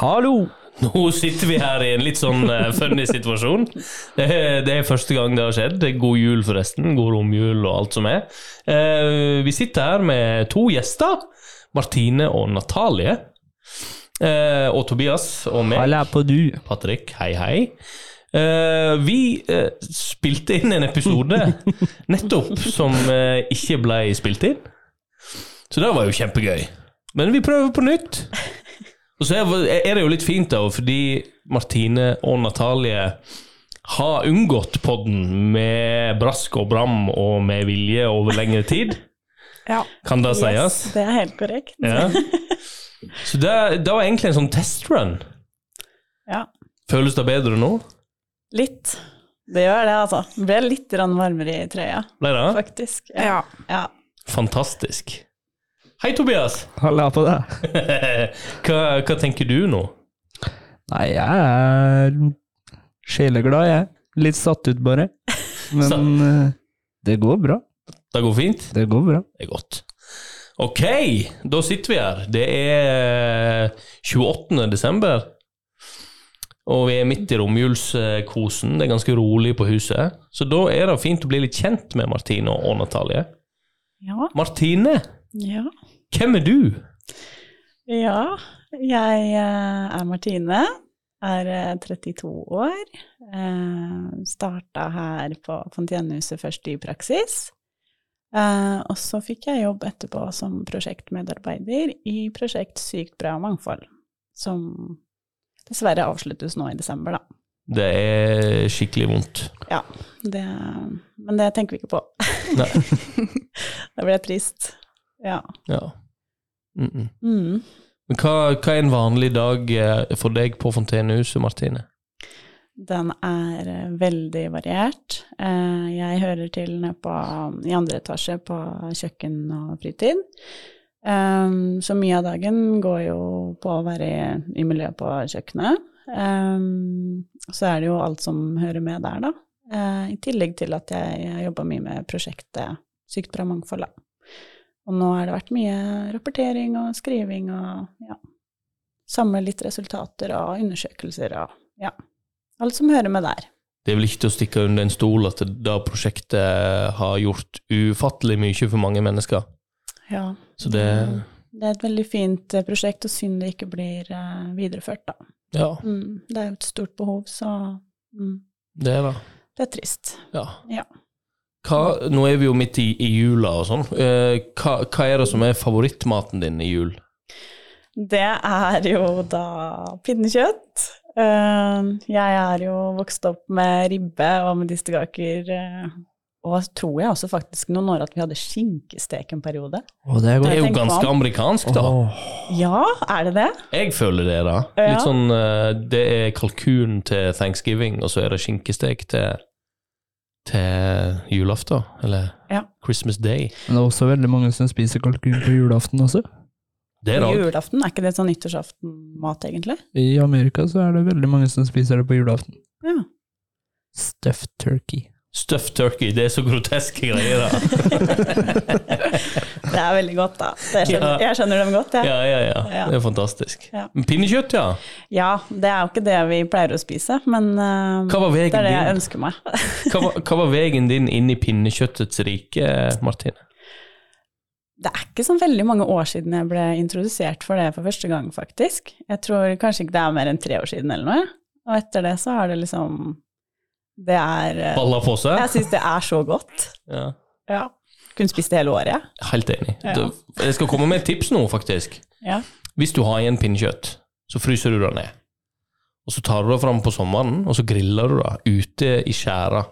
Hallo! Nå sitter vi her i en litt sånn eh, funny situasjon. Det er, det er første gang det har skjedd. God jul, forresten. God romjul og alt som er. Eh, vi sitter her med to gjester. Martine og Natalie. Eh, og Tobias og meg. Halla på du. Patrick, hei hei. Eh, vi eh, spilte inn en episode nettopp som eh, ikke ble spilt inn. Så det var jo kjempegøy. Men vi prøver på nytt. Og så er, er det jo litt fint, da, fordi Martine og Natalie har unngått podden med brask og bram og med vilje over lengre tid. Ja. Kan det sies? Yes, det er helt korrekt. Ja. Så det, det var egentlig en sånn testrun. Ja. Føles det bedre nå? Litt. Det gjør det, altså. Det Ble litt grann varmere i trøya, Ble det? faktisk. Ja. Ja. Fantastisk. Hei, Tobias. Halla på deg. hva, hva tenker du nå? Nei, jeg er sjeleglad, jeg. Litt satt ut, bare. Men eh, det går bra. Det går fint? Det går bra. Det er godt. Ok, da sitter vi her. Det er 28. desember. Og vi er midt i romjulskosen. Det er ganske rolig på huset. Så da er det fint å bli litt kjent med Martine og Natalie. Ja. Martine, ja. hvem er du? Ja. Jeg eh, er Martine. Er eh, 32 år. Eh, Starta her på Fontenehuset først i praksis. Eh, og så fikk jeg jobb etterpå som prosjektmedarbeider i prosjekt Sykt bra mangfold, som dessverre avsluttes nå i desember, da. Det er skikkelig vondt. Det, men det tenker vi ikke på. Nei. det ble trist. Ja. Ja. Mm -mm. Mm. Men hva, hva er en vanlig dag eh, for deg på Fontenehuset, Martine? Den er eh, veldig variert. Eh, Jeg hører til nede på, i andre etasje på kjøkken og fritid. Ehm, Så mye av dagen går jo på å være i- i miljøet på kjøkkenet. Ehm, Så er det jo alt som hører med der, da. Eh, I tillegg til at jeg har jobba mye med prosjektet Sykt bra mangfold, da. Og nå har det vært mye rapportering og skriving og ja, samle litt resultater og undersøkelser og ja. Alt som hører med der. Det er vel ikke til å stikke under en stol at det prosjektet har gjort ufattelig mye for mange mennesker. Ja. Mm. Så det Det er et veldig fint eh, prosjekt, og synd det ikke blir eh, videreført, da. Ja, Mm, det er jo et stort behov, så mm, det er det. det er trist. Ja. Ja. Hva, nå er vi jo midt i, i jula og sånn. Eh, hva, hva er det som er favorittmaten din i jul? Det er jo da pinnekjøtt. Eh, jeg er jo vokst opp med ribbe og medisterkaker, eh, og tror jeg også faktisk noen år at vi hadde skinkestek en periode. Å, det Det er jo tenker på ganske han. amerikansk, da. Ja, er det det? Jeg føler det, da. Ja. Litt sånn eh, Det er kalkun til thanksgiving, og så er det skinkestek til, til julaften. Eller Ja. Christmas Day. Men det er også veldig mange som spiser kalkun på julaften også. Det er På det. Julaften, er ikke det sånn nyttårsaftenmat, egentlig? I Amerika så er det veldig mange som spiser det på julaften. Ja. Stuffed turkey. Stuffed turkey. Det er så groteske greier, da. Det er veldig godt, da. Det skjønner, Ja. Jeg skjønner dem godt, jeg. Ja, ja, ja. Ja. Det er fantastisk. Ja. Men Pinnekjøtt, ja. Ja, det er jo ikke det vi pleier å spise, men eh, Hva var det er veien det jeg din, ønsker meg. hva var, hva var veien din inn i pinnekjøttets rike, Martine? Det er ikke så veldig mange år siden jeg ble introdusert for det for første gang, faktisk. Jeg tror kanskje ikke det er mer enn tre år siden eller noe. Og etter det så har det liksom Det er eh, Balla på seg? Jeg syns det er så godt. Ja. Ja. Kunne spist det hele året. Helt enig. Ja. Da- Jeg skal komme med et tips nå, faktisk. Ja. Hvis du har igjen pinnekjøtt, så fryser du det ned. Og så tar du det fram på sommeren, og så griller du det ute i skjæra.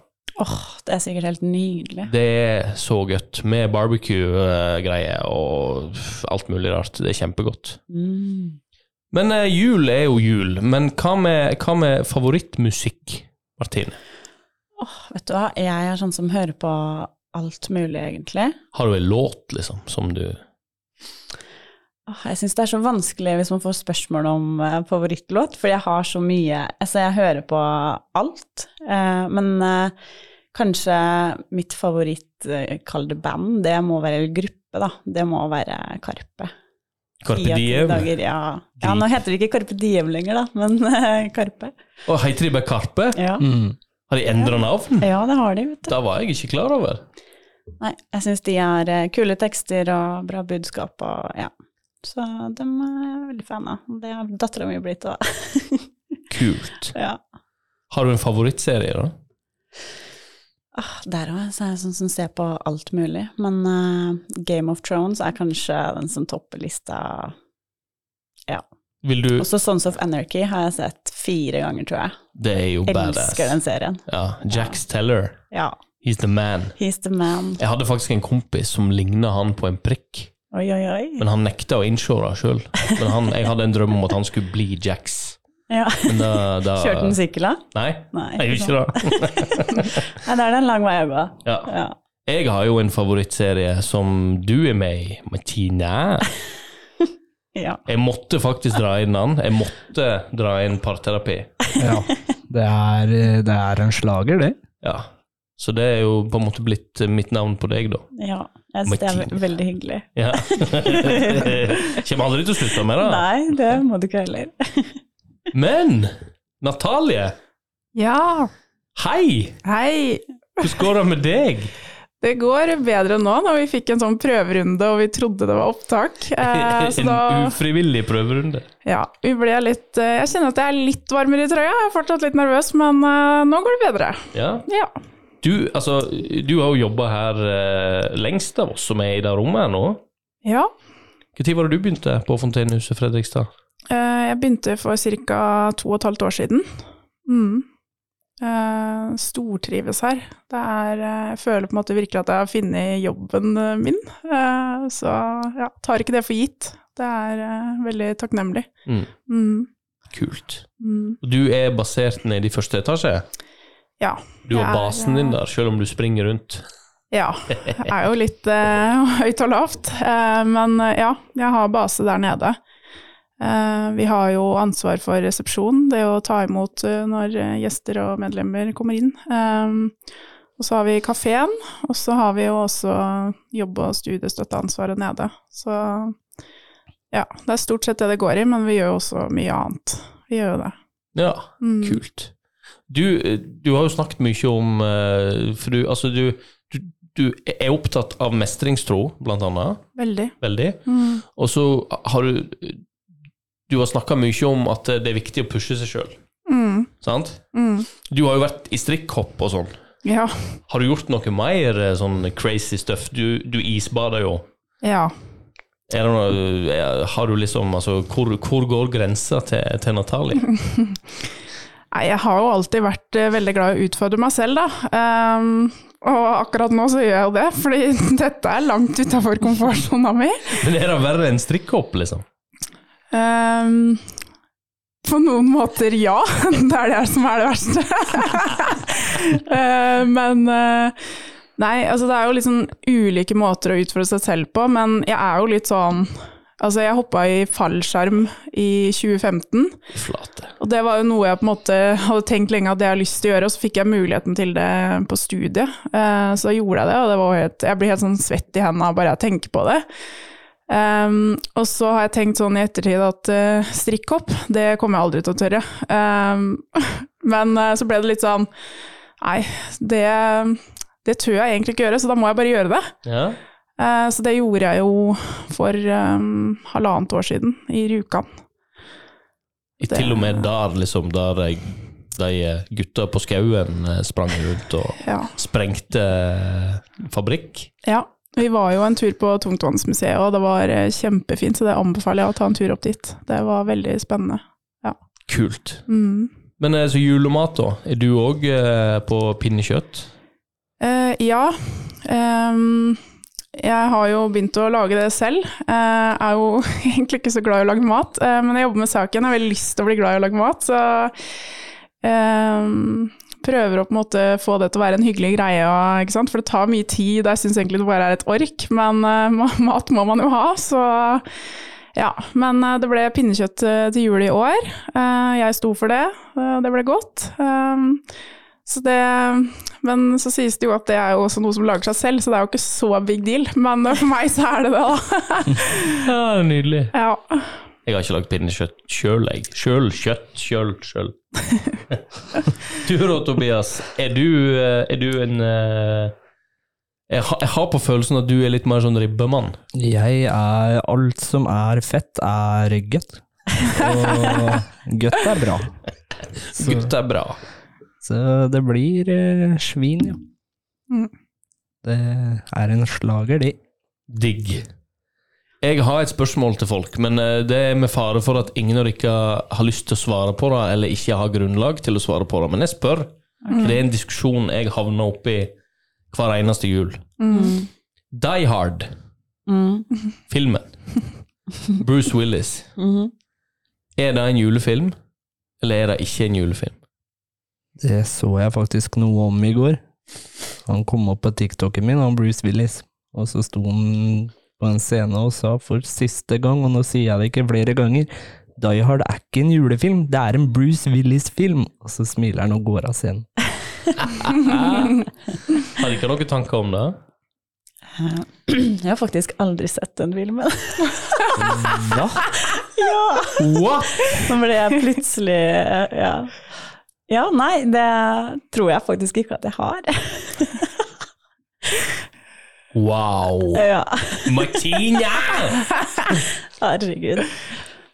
Åh, det er sikkert helt nydelig. Det er så godt, med barbecue-greier og alt mulig rart. Det er kjempegodt. Mm. Men eh, jul er jo jul. Men hva med, hva med favorittmusikk, Martine? Åh, vet du hva, jeg er sånn som hører på alt mulig, egentlig. Har du en låt, liksom, som du Åh, Jeg syns det er så vanskelig hvis man får spørsmål om eh, favorittlåt, for jeg har så mye Altså, jeg hører på alt, eh, men eh, kanskje mitt favoritt, eh, kall det band, det må være eller gruppe, da. Det må være Karpe. Carpe Ti av ti Diem. dager, Ja. ja, nå heter det ikke Carpe Diem lenger, da, men eh, Karpe. Og heter de bare Karpe? Ja. Mm. Har de endra navn? ja, det har de, vet du. Det var jeg ikke klar over. Nei, jeg syns de har eh, kule tekster og bra budskap og ja. Så dem er jeg veldig fan av. Det har dattera mi blitt òg. Kult. Ja. Har du en favorittserie, da? Ah, der òg, så er jeg sånn som ser på alt mulig. Men eh, Game of Thrones er kanskje den som topper lista. Vil du Også Sons of Anarchy har jeg sett fire ganger, tror jeg. Det er jo badass. Elsker den serien. Ja, Jax Teller. Ja. He's the man. He's the man. Jeg hadde faktisk en kompis som ligna han på en prikk, Oi, oi, oi. men han nekta å innse det sjøl. Men han, jeg hadde en drøm om at han skulle bli Jax. Ja. Men da, da Kjørte den sykla? Nei, Nei. jeg ikke sant. gjorde ikke det. Nei, da er det en lang vei å gå. Ja. Ja. Jeg har jo en favorittserie som du er med i, Martine. ja. Jeg måtte faktisk dra inn den. Jeg måtte dra inn parterapi. Ja. Det er, eh, det er en slager, det. Ja. Så det er jo på en måte blitt mitt navn på deg, da. ja. Jeg synes det er ve- veldig hyggelig. Ja. Kommer aldri til å slutte med det. Nei, det må du ikke heller. Men Natalie, Ja, hei! hei. Hvordan går det med deg? Det går bedre nå når vi fikk en sånn prøverunde og vi trodde det var opptak. Eh, så En da, ufrivillig prøverunde. ja, vi ble litt, eh, jeg kjenner at jeg er litt varmere i trøya, jeg er fortsatt litt nervøs, men eh, nå går det bedre. Ja. Ja. Du, altså, du har jo jobba her eh, lengst av oss som er i det rommet her nå. ja. Når var det du begynte på Fontenehuset Fredrikstad? Eh, jeg begynte for ca. to og et halvt år siden. Mm. Eh, stortrives her. Det er, eh, jeg føler på en måte virkelig at jeg har funnet jobben eh, min, eh, så ja, tar ikke det for gitt. Det er eh, veldig takknemlig. Mm. Mm. Kult. Mm. Og Du er basert nede i første etasje? Ja. Du har Jeg er, basen din der, selv om du springer rundt. Ja. Jeg er jo litt eh, høyt og lavt, eh, men eh, ja, jeg har base der nede. Eh, vi har jo ansvar for resepsjon, det å ta imot eh, når eh, gjester og medlemmer kommer inn. Eh, og så har vi kafeen, og så har vi jo også jobb- og studiestøtteansvaret nede. Så ja, det er stort sett det det går i, men vi gjør jo også mye annet. Vi gjør jo det. Ja, Mm. kult. Du, eh, du har jo snakket mye om eh, For du, altså du, du, du er opptatt av mestringstro, blant annet. Veldig. Veldig. Mm. Og så har du Du har snakka mye om at det er viktig å pushe seg sjøl, Mm. sant? Mm. Du har jo vært i strikkhopp og sånn. Ja. Har du gjort noe mer eh, sånn crazy stuff? Du, du isbader jo. ja. Er det noe, er- har du liksom, altså, hvor, hvor går grensa til, til Natalie? Nei, jeg har jo alltid vært eh, veldig glad i å utfordre meg selv, da. Ehm, og akkurat nå så gjør jeg jo det, fordi dette er langt utafor komfortsona mi. Men er det verre enn strikkhopp, liksom? Ehm, på noen måter ja, det er det som er det verste. Eh, men eh, nei, altså det er jo litt sånn ulike måter å utfordre seg selv på, men jeg er jo litt sånn Altså, jeg hoppa i fallskjerm i 2015. Flate. Og det var jo noe jeg på en måte hadde tenkt lenge at det jeg har lyst til å gjøre, og så fikk jeg muligheten til det på studiet. Eh, Så da gjorde jeg det, og det var jo helt, jeg blir helt sånn svett i hendene bare jeg tenker på det. Ehm, og så har jeg tenkt sånn i ettertid at eh, strikkhopp, det kommer jeg aldri til å tørre. Ehm, men eh, så ble det litt sånn Nei, det, det tør jeg egentlig ikke gjøre, så da må jeg bare gjøre det. Ja. Eh, Så det gjorde jeg jo for um, halvannet år siden, i Rjukan. I Det- til og med der, liksom, der eh, de gutta på skauen eh, sprang rundt og Ja. sprengte eh, fabrikk. Ja, vi var jo en tur på Tungtvannsmuseet, og det var eh, kjempefint, så det anbefaler jeg å ta en tur opp dit. Det var veldig spennende. Kult. Mm. Men eh, så julemat, da. Er du òg eh, på pinnekjøtt? Eh, ja, ehm, jeg har jo begynt å lage det selv. Jeg er jo egentlig ikke så glad i å lage mat, eh, men jeg jobber med saken. Jeg har veldig lyst til å bli glad i å lage mat, så ehm, prøver å på en måte få det til å være en hyggelig greie. og- Ikke sant? For det tar mye tid, og jeg syns egentlig det bare er et ork, men eh, ma- mat må man jo ha, så ja, men eh, det ble pinnekjøtt eh, til jul i år. Eh, Jeg sto for det, eh, det ble godt. Ehm, Så det, men så sies det jo at det er jo også noe som lager seg selv, så det er jo ikke så big deal. Men for meg så er det det, da. Ja, det er Nydelig. Ja. Jeg har ikke lagd pinnekjøtt sjøl, jeg. Sjøl kjøtt, sjøl, sjøl. du da, Tobias. Er du, eh, er du en eh, jeg, har- jeg har på følelsen at du er litt mer sånn ribbemann. Jeg er Alt som er fett, er godt. Og godt er bra. Så, Gutt er bra. så det blir eh, svin, ja. Mm. Det er en slager, de. Digg. Jeg har et spørsmål til folk, men eh, det er med fare for at ingen av dere har lyst til å svare på det, eller ikke har grunnlag til å svare på det. Men jeg spør, for det er en diskusjon jeg havner oppi hver eneste jul. Mm. Die Hard, Mm. filmen. Bruce Willis. Mhm. Er det en julefilm, eller er det ikke en julefilm? Det så jeg faktisk noe om i går. Han kom opp på TikToken min, han Bruce Willis, og så sto han på en scene og sa for siste gang, og nå sier jeg det ikke flere ganger, Die Hard er ikke en julefilm, det er en Bruce Willis-film! Og så smiler han og går av scenen. Har dere noen tanker om det? Eh, Jeg har faktisk aldri sett den filmen. Hva? ja. What? Nå ble jeg plutselig eh, ja. ja, nei, det tror jeg faktisk ikke at jeg har. Wow! ja, Martina! herregud.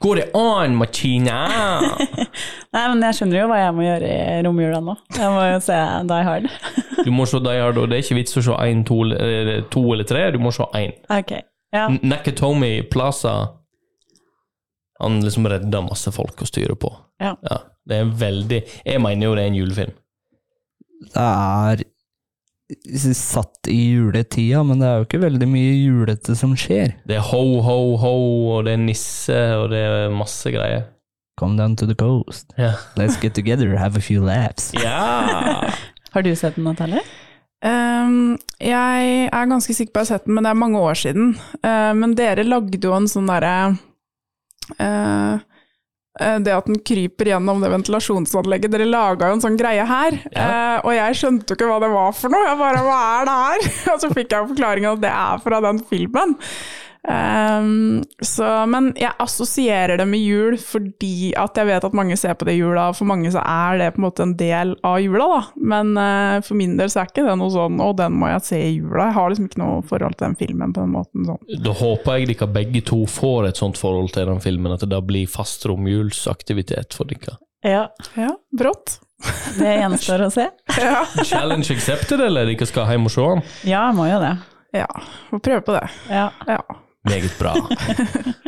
Går det an, Martina? Nei, men jeg skjønner jo hva jeg må gjøre i romjula nå. Jeg må jo se Die Hard. Du må se Die Hard, og det er ikke vits å se én, to, eller- eller to eller tre. Du må se én. Ok, ja. N- Nakatomi Plaza Han liksom redder masse folk å styre på. Ja. Det er en veldig Jeg mener jo det er en julefilm. Det er satt i juletida, men det er jo ikke veldig mye julete som skjer. Det er ho, ho, ho, og det er nisse, og det er masse greier. Come down to the coast, Ja! let's get together, have a few laughs. ja. Har du sett den, Natalie? Ehm, jeg er ganske sikker på at jeg har sett den, men det er mange år siden. Eh, men dere lagde jo en sånn derre eh, eh, Det at den kryper gjennom det ventilasjonsanlegget. Dere laga jo en sånn greie her, eh, og jeg skjønte jo ikke hva det var for noe. Jeg bare Hva er det her? og så fikk jeg forklaringa at det er fra den filmen. Ehm, så, men jeg assosierer det med jul fordi at jeg vet at mange ser på det i jula, og for mange så er det på en måte en del av jula, da. Men eh, for min del så er ikke det noe sånn 'å, den må jeg se i jula'. Jeg har liksom ikke noe forhold til den filmen på den måten. sånn. Da håper jeg dere begge to får et sånt forhold til den filmen, at det da blir fast romjulsaktivitet for dere. Ja, Ja, brått. det gjenstår å se. Ja, Challenge accepted, eller dere skal hjem og se den? Ja, jeg må jo det. ja får prøve på det. Ja. Ja. Meget bra.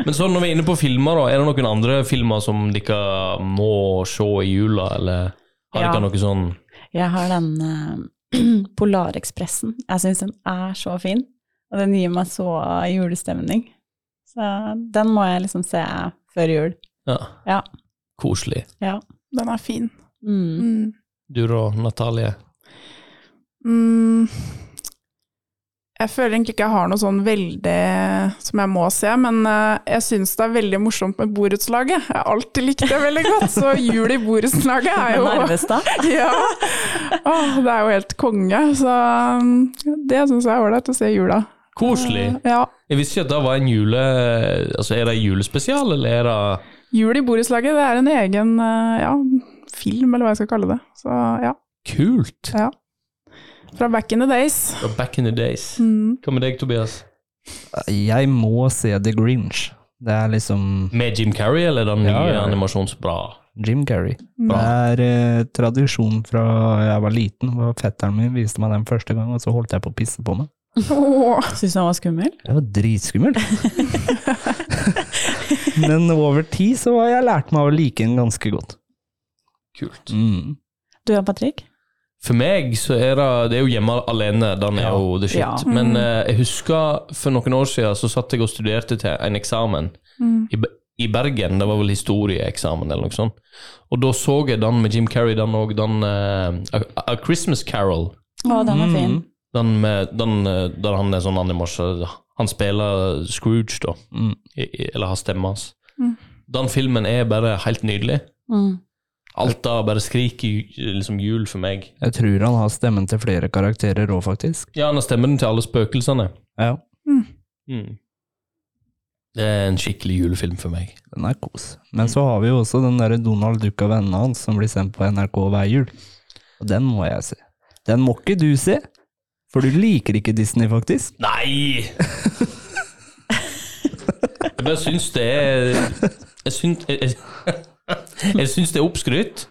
Men sånn når vi er inne på filmer, da, er det noen andre filmer som dere må se i jula, eller har Ja. dere noe sånn Jeg har den eh, Polarekspressen. Jeg syns den er så fin, og den gir meg så julestemning. Så den må jeg liksom se før jul. ja, Ja. koselig? Ja. Den er fin. Mm. Mm. Du da, Natalie? Mm. Jeg føler egentlig ikke jeg har noe sånn veldig som jeg må se, men eh, jeg syns det er veldig morsomt med borettslaget. Jeg har alltid likt det veldig godt, så jul i borettslaget er Men jo nervøs da? ja. Åh, det er jo helt konge, så mm, det syns jeg er ålreit å se i jula. Koselig! Ja. Jeg visste ikke at det var en jule... Altså, er det en julespesial, eller er det Jul i borettslaget, det er en egen eh, ja, film, eller hva jeg skal kalle det. Så ja. kult? ja. Fra back in the days. Fra Back in the days. Mm. Hva med deg, Tobias? Jeg må se The Grinch. Det er liksom Med Jim Carrey, eller den nye Ja, ja, ja. animasjonsbra? Jim Carrey. Det Mm. er eh, tradisjon fra jeg var liten, og fetteren min viste meg den første gang, og så holdt jeg på å pisse på meg. Åh. Syns han var skummel? Det var dritskummelt. Men over tid så har jeg lært meg å like den ganske godt. Kult. Mm. Du og Patrick? For meg så er det Det er jo hjemme alene, den er Ja. jo the shit. Ja. Men eh, jeg husker for noen år siden så satt jeg og studerte til en eksamen Mm. i, Be- i Bergen. Det var vel historieeksamen eller noe sånt. Og da så jeg den med Jim Carrey, den òg, den eh, A, A Christmas Carol. Å, den var fin. Den med den, eh, der han er sånn animasjon Han spiller Scrooge, da. Mm. I, i, eller har stemmen hans. Mm. Den filmen er bare helt nydelig. Mm. Alt da bare skriker ju- liksom jul for meg. Jeg tror han har stemmen til flere karakterer òg, faktisk. Ja, han har stemmen til alle spøkelsene. Ja, Det er en skikkelig julefilm for meg. den er kos. Men så har vi jo også den derre Donald Duck og vennene hans som blir sendt på NRK hver jul. Og den må jeg se. Den må ikke du se, for du liker ikke Disney, faktisk. Nei! Jeg bare syns det er Jeg syns, jeg, jeg syns det er oppskrytt,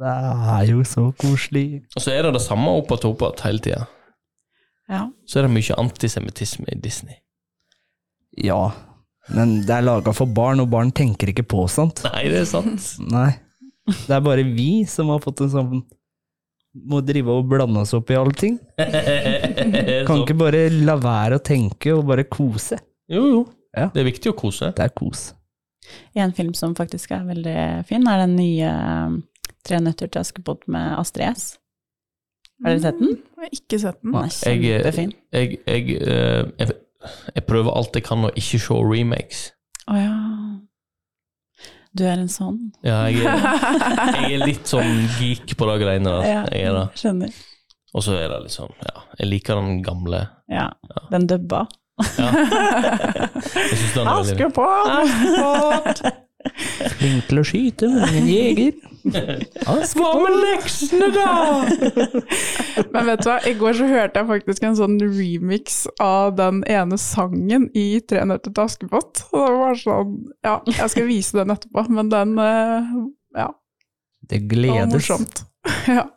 Det er jo så koselig. og så er det det samme opp og opp igjen hele tida. Ja. Så er det mye antisemittisme i Disney. Ja, men det er laga for barn, og barn tenker ikke på sånt. Nei, det er sant. Nei. Det er bare vi som har fått en sånn Må drive og blande oss opp i alle ting. Kan Så- ikke bare la være å tenke og bare kose. Jo, jo. Ja. Det er viktig å kose. Det er kos. En film som faktisk er veldig fin, er den nye um, Tre nøtter til Askepott med Astrid S. Har dere sett den? Jeg har ikke sett den. Den er Jeg, eh, kjempefin. Jeg, jeg, eh, jeg, jeg prøver alt jeg kan å ikke se remakes. Å ja. Du er en sånn. Ja, jeg, er- jeg er litt sånn geek på de greiene der. Jeg er det. Skjønner. Og så er det liksom Ja, jeg liker den gamle. Ja. Den dubba. Jeg synes den Ah, er veldig Askepott! Flink til å skyte, men ingen jeger. Hva med leksene, da? Men vet du hva, i går så hørte jeg faktisk en sånn remix av den ene sangen i Tre nøtter til Askepott. Og det var sånn Ja, jeg skal vise den etterpå, men den eh, Ja, Det det var gledes. morsomt. Ja.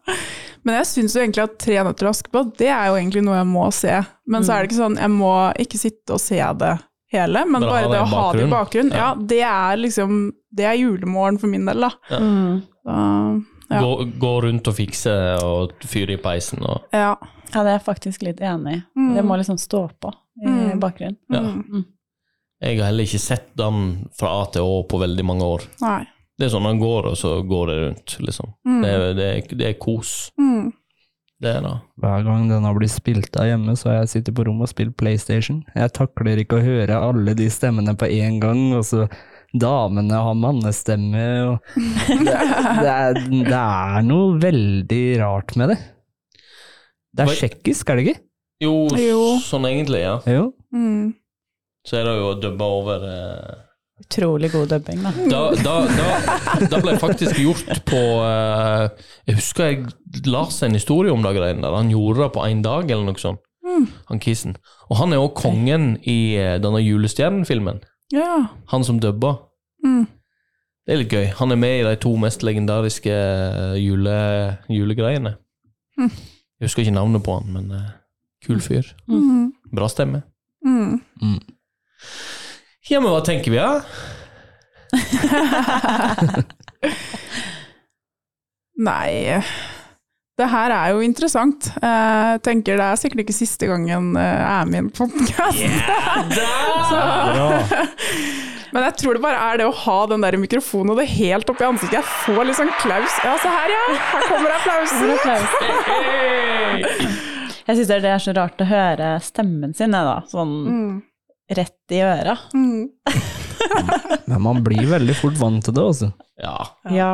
Men jeg syns jo egentlig at Tre nøtter til Askepott, det er jo egentlig noe jeg må se. Men så er det ikke sånn, jeg må ikke sitte og se det hele, men Bare ha bare det i det å ha det i bakgrunnen. bakgrunnen, ja, det er liksom Det er julemorgen for min del, da. Mm. Så, Ja. Gå, gå rundt og fikse og fyre i peisen og ja. Ja, det er jeg faktisk litt enig i. Mm. Det må liksom stå på i Mm. bakgrunnen. Ja. Mm. Jeg har heller ikke sett den fra A til Å på veldig mange år. Nei. Det er sånn den går, og så går det rundt, liksom. Mm. Det, er- det, er- det er kos, Mm. det er det. Hver gang den har blitt spilt av hjemme, så har jeg sittet på rommet og spilt PlayStation. Jeg takler ikke å høre alle de stemmene på én gang, og så damene har mannestemme, og det, det, er, det er noe veldig rart med det. Det er tsjekkisk, er det ikke? Jo, Jo. sånn egentlig, ja. Jo. Mm. Så er det jo å dubbe over eh, Utrolig god dubbing, da. da, da, da, da ble det faktisk gjort på eh, Jeg husker jeg leste en historie om det greiene der. Han gjorde det på én dag, eller noe sånt. Mm. Han Kissen. Og han er òg kongen i eh, denne Julestjernen-filmen. Ja. Han som dubba. Mm. Det er litt gøy. Han er med i de to mest legendariske eh, jule, julegreiene. Mm. Jeg husker ikke navnet på han, men eh, kul fyr. Mm. Bra stemme. Mm. Ja, men hva tenker vi, da? Nei, det her er jo interessant. Eh, Jeg tenker det er sikkert ikke siste gangen eh, jeg er med i en podkast. Bra. Men jeg tror det bare er det å ha den der mikrofonen og det helt oppi ansiktet. Jeg får litt sånn klaus. Ja, se her, ja! Her kommer applausen! Applaus. Jeg syns det er så rart å høre stemmen sin, jeg, da. Sånn Mm. rett i øra. Mm. Men man blir veldig fort vant til det, altså. Ja. Ja.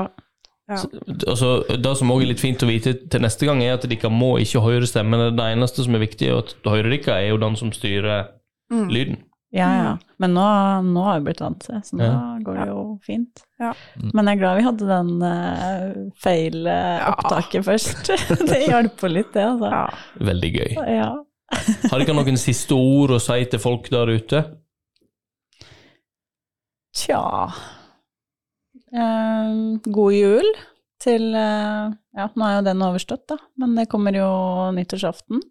Altså, det som òg er litt fint å vite til neste gang, er at dere må ikke høre stemmene. Det eneste som er viktig, er at høyre dere er jo den som styrer Mm. lyden. Ja, ja. Mm. Men nå, nå har jeg blitt vant til det, så nå Ja. går det jo fint. Ja. Men jeg er glad vi hadde den eh, feil eh, Ja. opptaket først. det hjalp på litt, det, altså. Ja. Veldig gøy. Ja. Har dere noen siste ord å si til folk der ute? Tja Ehm, God jul til eh, Ja, nå er jo den overstått, da, men det kommer jo nyttårsaften.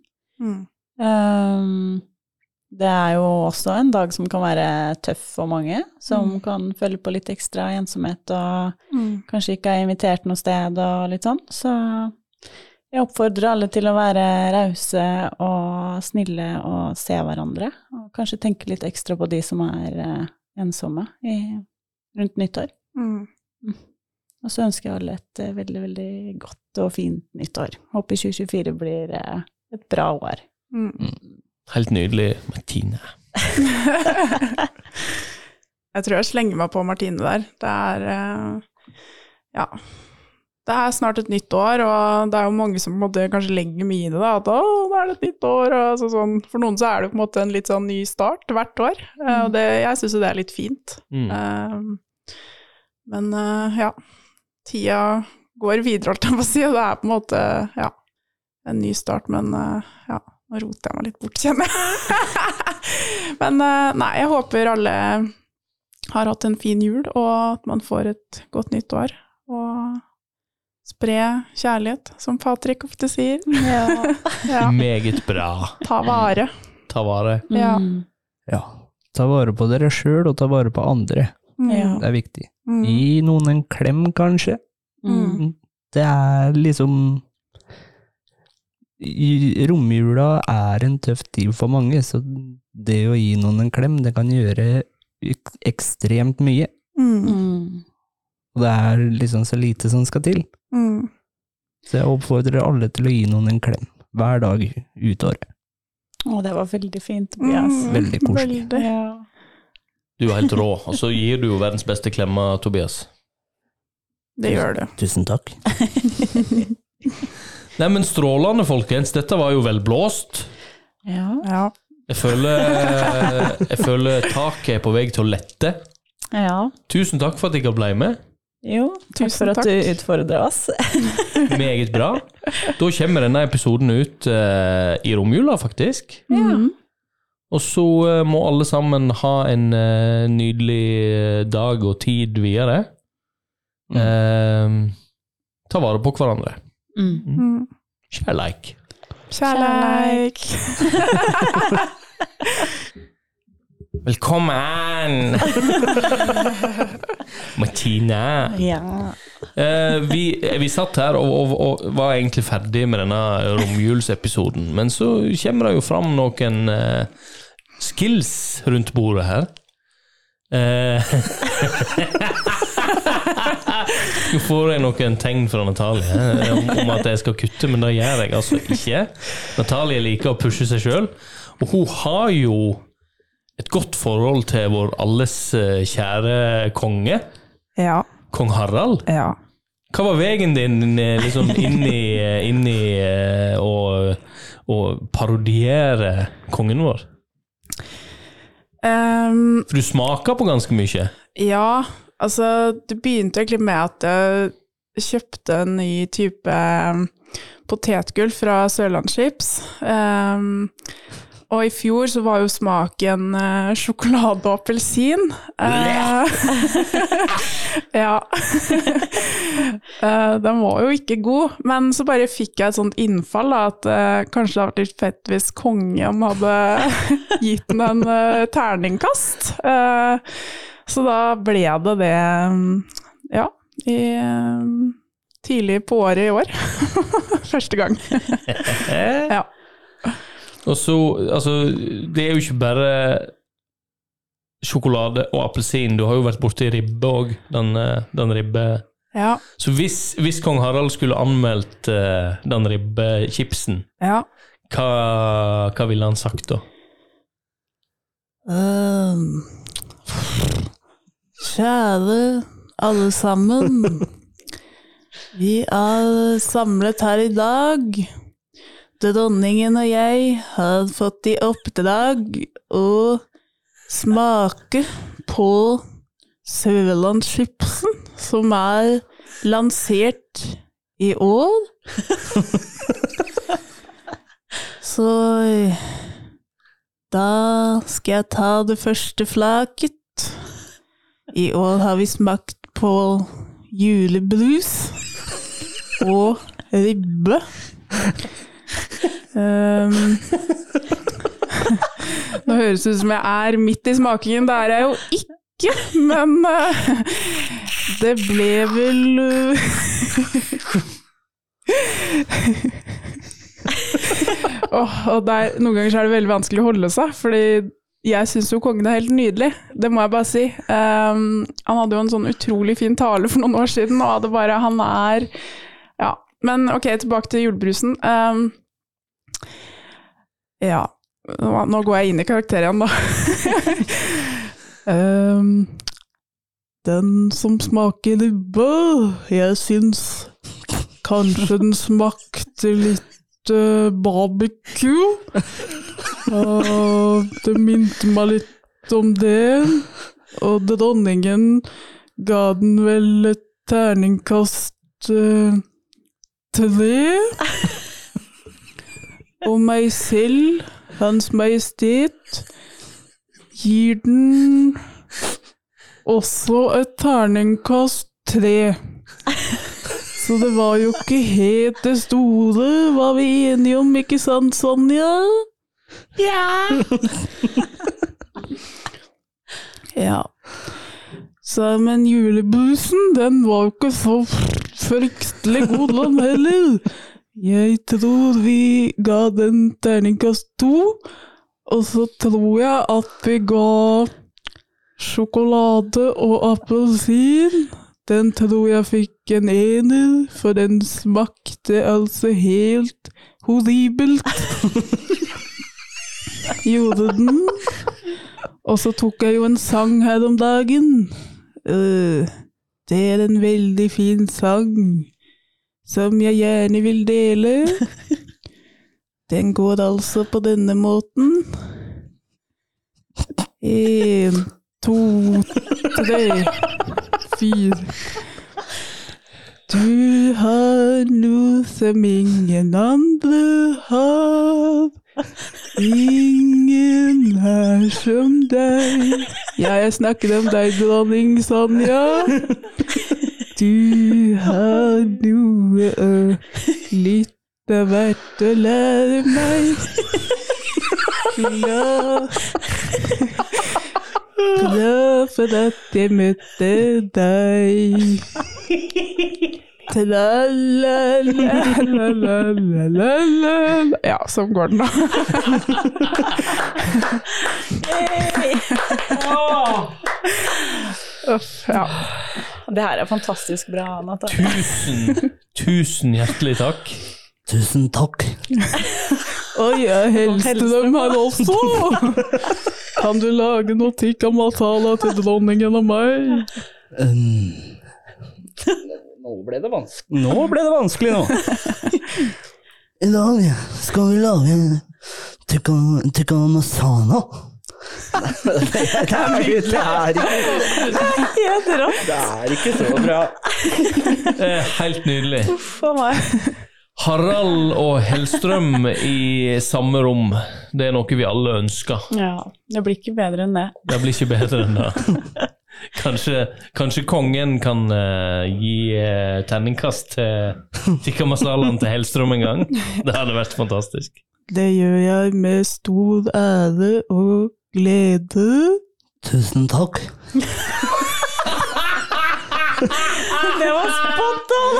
Mm. Ehm, det er jo også en dag som kan være tøff for mange, som Mm. kan føle på litt ekstra ensomhet og Mm. kanskje ikke er invitert noe sted og litt sånn. Så jeg oppfordrer alle til å være rause og snille og se hverandre. Og kanskje tenke litt ekstra på de som er eh, ensomme i, rundt nyttår. Mm. Og så ønsker jeg alle et eh, veldig, veldig godt og fint nyttår. Håper 2024 blir eh, et bra år. Mm. Helt nydelig, Martine. Jeg tror jeg slenger meg på Martine der. Det er eh, Ja. det er snart et nytt år, og det er jo mange som på en måte kanskje legger mye i det. da, At å, nå er det et nytt år, og så, sånn. For noen så er det jo på en måte en litt sånn ny start hvert år. eh, Og det, jeg syns jo det er litt fint. Mm. Eh, men eh, ja, tida går videre, holdt jeg på å si. Og det er på en måte ja, en ny start, men eh, ja, nå roter jeg meg litt bort, kjenner jeg. men eh, nei, jeg håper alle har hatt en fin jul, og at man får et godt nytt år. Og spre kjærlighet, som Patrick ofte sier. Ja. Ja, Meget bra. ta vare. Ta vare. Ja. Mm. Ja. Ta vare på dere sjøl, og ta vare på andre. Ja. Det er viktig. Mm. Gi noen en klem, kanskje. Mm. Det er liksom i- Romjula er en tøff tid for mange, så det å gi noen en klem, det kan gjøre ek- ekstremt mye. Mm. Mm. Og det er liksom så lite som skal til. Mm. Så jeg oppfordrer alle til å gi noen en klem. Hver dag ut året. Å, det var veldig fint, Tobias. Mm. Veldig koselig. Veldig. Ja. Du er helt rå, og så gir du jo verdens beste klemmer, Tobias. Det gjør du. Tusen takk. Nei, men strålende, folkens. Dette var jo velblåst. ja. Ja. Jeg føler, jeg føler taket er på vei til å lette. Ja. Tusen takk for at dere ble med. Jo, takk Tusen for at takk. du utfordrer oss. Meget bra. Da kommer denne episoden ut eh, i romjula, faktisk. Mm. Ja. Og så eh, må alle sammen ha en eh, nydelig eh, dag og tid videre. Eh, ta vare på hverandre. Mm. Mm. Kjærleik. Kjærleik. Velkommen! Martine. Ja. Eh, vi, eh, vi satt her og, og, og var egentlig ferdig med denne romjulsepisoden, men så kommer det jo fram noen eh, skills rundt bordet her. Eh, Nå får jeg noen tegn fra Natalie eh, om, om at jeg skal kutte, men det gjør jeg altså ikke. Natalie liker å pushe seg sjøl, og hun har jo et godt forhold til vår alles eh, kjære konge, Ja. kong Harald. Ja. Hva var veien din eh, liksom inn i, eh, inn i eh, å, å parodiere kongen vår? Ehm, For du smaker på ganske mye. ja, altså det begynte egentlig med at jeg kjøpte en ny type ehm, potetgull fra Sørlandschips. Ehm, og i fjor så var jo smaken eh, sjokolade og appelsin. Eh, ja. Eh, den var jo ikke god, men så bare fikk jeg et sånt innfall da, at eh, kanskje det hadde vært litt fett hvis kongen hadde gitt den en eh, terningkast. Eh, så da ble det det, mm, ja, i, eh, tidlig på året i år. Første gang. Ja. Og så, altså, det er jo ikke bare sjokolade og appelsin. Du har jo vært borti ribbe òg, den, eh, den ribbe... Ja, Så hvis, hvis kong Harald skulle anmeldt eh, den ribbechipsen, ja. hva, hva ville han sagt da? Ehm, Kjære alle sammen. Vi er samlet her i dag. Dronningen og jeg har fått i oppdrag å smake på Sørlandschipsen, som er lansert i år. Så da skal jeg ta det første flaket. I år har vi smakt på julebrus og ribbe. Ehm, nå høres det ut som jeg er midt i smakingen, det er jeg jo ikke, men eh, det ble vel eh, Åh, og det er- noen ganger så er det veldig vanskelig å holde seg, fordi jeg syns jo kongen er helt nydelig, det må jeg bare si. Ehm, han hadde jo en sånn utrolig fin tale for noen år siden, og det bare Han er Ja. Men ok, tilbake til julebrusen. Ehm, ja Nå nå går jeg inn i karakter igjen, da. Ehm, den som smaker ribbe, jeg syns Kanskje den smakte litt eh, barbecue. Eh, det minte meg litt om det. Og dronningen ga den vel et terningkast eh, tre. Og meg selv, Hans Majestet, gir den også et terningkast tre. Så det var jo ikke helt det store, var vi enige om, ikke sant, Sonja? Ja! Ja. Så, men julebrusen, den var jo ikke så fryktelig god, den heller. Jeg tror vi ga den terningkast to, og så tror jeg at vi ga sjokolade og appelsin. Den tror jeg fikk en ener, for den smakte altså helt horribelt. Gjorde den. Og så tok jeg jo en sang her om dagen. Eh, det er en veldig fin sang som jeg gjerne vil dele. Den går altså på denne måten. En, to, tre, fire. Du har noe som ingen andre har. Ingen er som deg. Ja, jeg snakker om deg, dronning Sonja. Du har noe og litt av hvert å lære meg. Glad Glad for at jeg møtte deg. Tra-la-la-la-la-la-la Ja, sånn går den, da. Uff, ja. Det her er fantastisk bra, Natalie. Tusen, tusen hjertelig takk. Tusen takk. Oi, jeg helste dem her også! Kan du lage noe tikka matala til dronningen og meg? Um. Nå ble det vanskelig. Nå ble det vanskelig nå. I dag skal vi lage tikka, tikka masala. Det er, det, er, det, er ikke, Helt rått. det er ikke så bra. Eh, Helt nydelig. Uff a meg. Harald og Hellstrøm i samme rom, det er noe vi alle ønsker. Ja, det blir ikke bedre enn det. Det blir ikke bedre enn det. Kanskje, kanskje kongen kan eh, gi uh, terningkast til tikka masalaen til Hellstrøm en gang? Det hadde vært fantastisk. Det gjør jeg med stor ære og glede. Tusen takk. Det var spot on!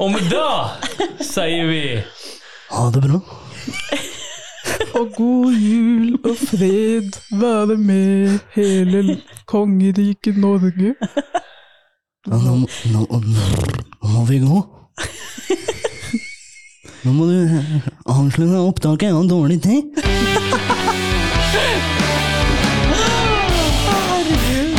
Og med det sier vi Ha det bra. Og god jul og fred være med hele kongeriket Norge. Ja, nå, nå, nå må vi gå. Nå må du eh, avslutte opptaket, jeg har dårlig tid. Herregud.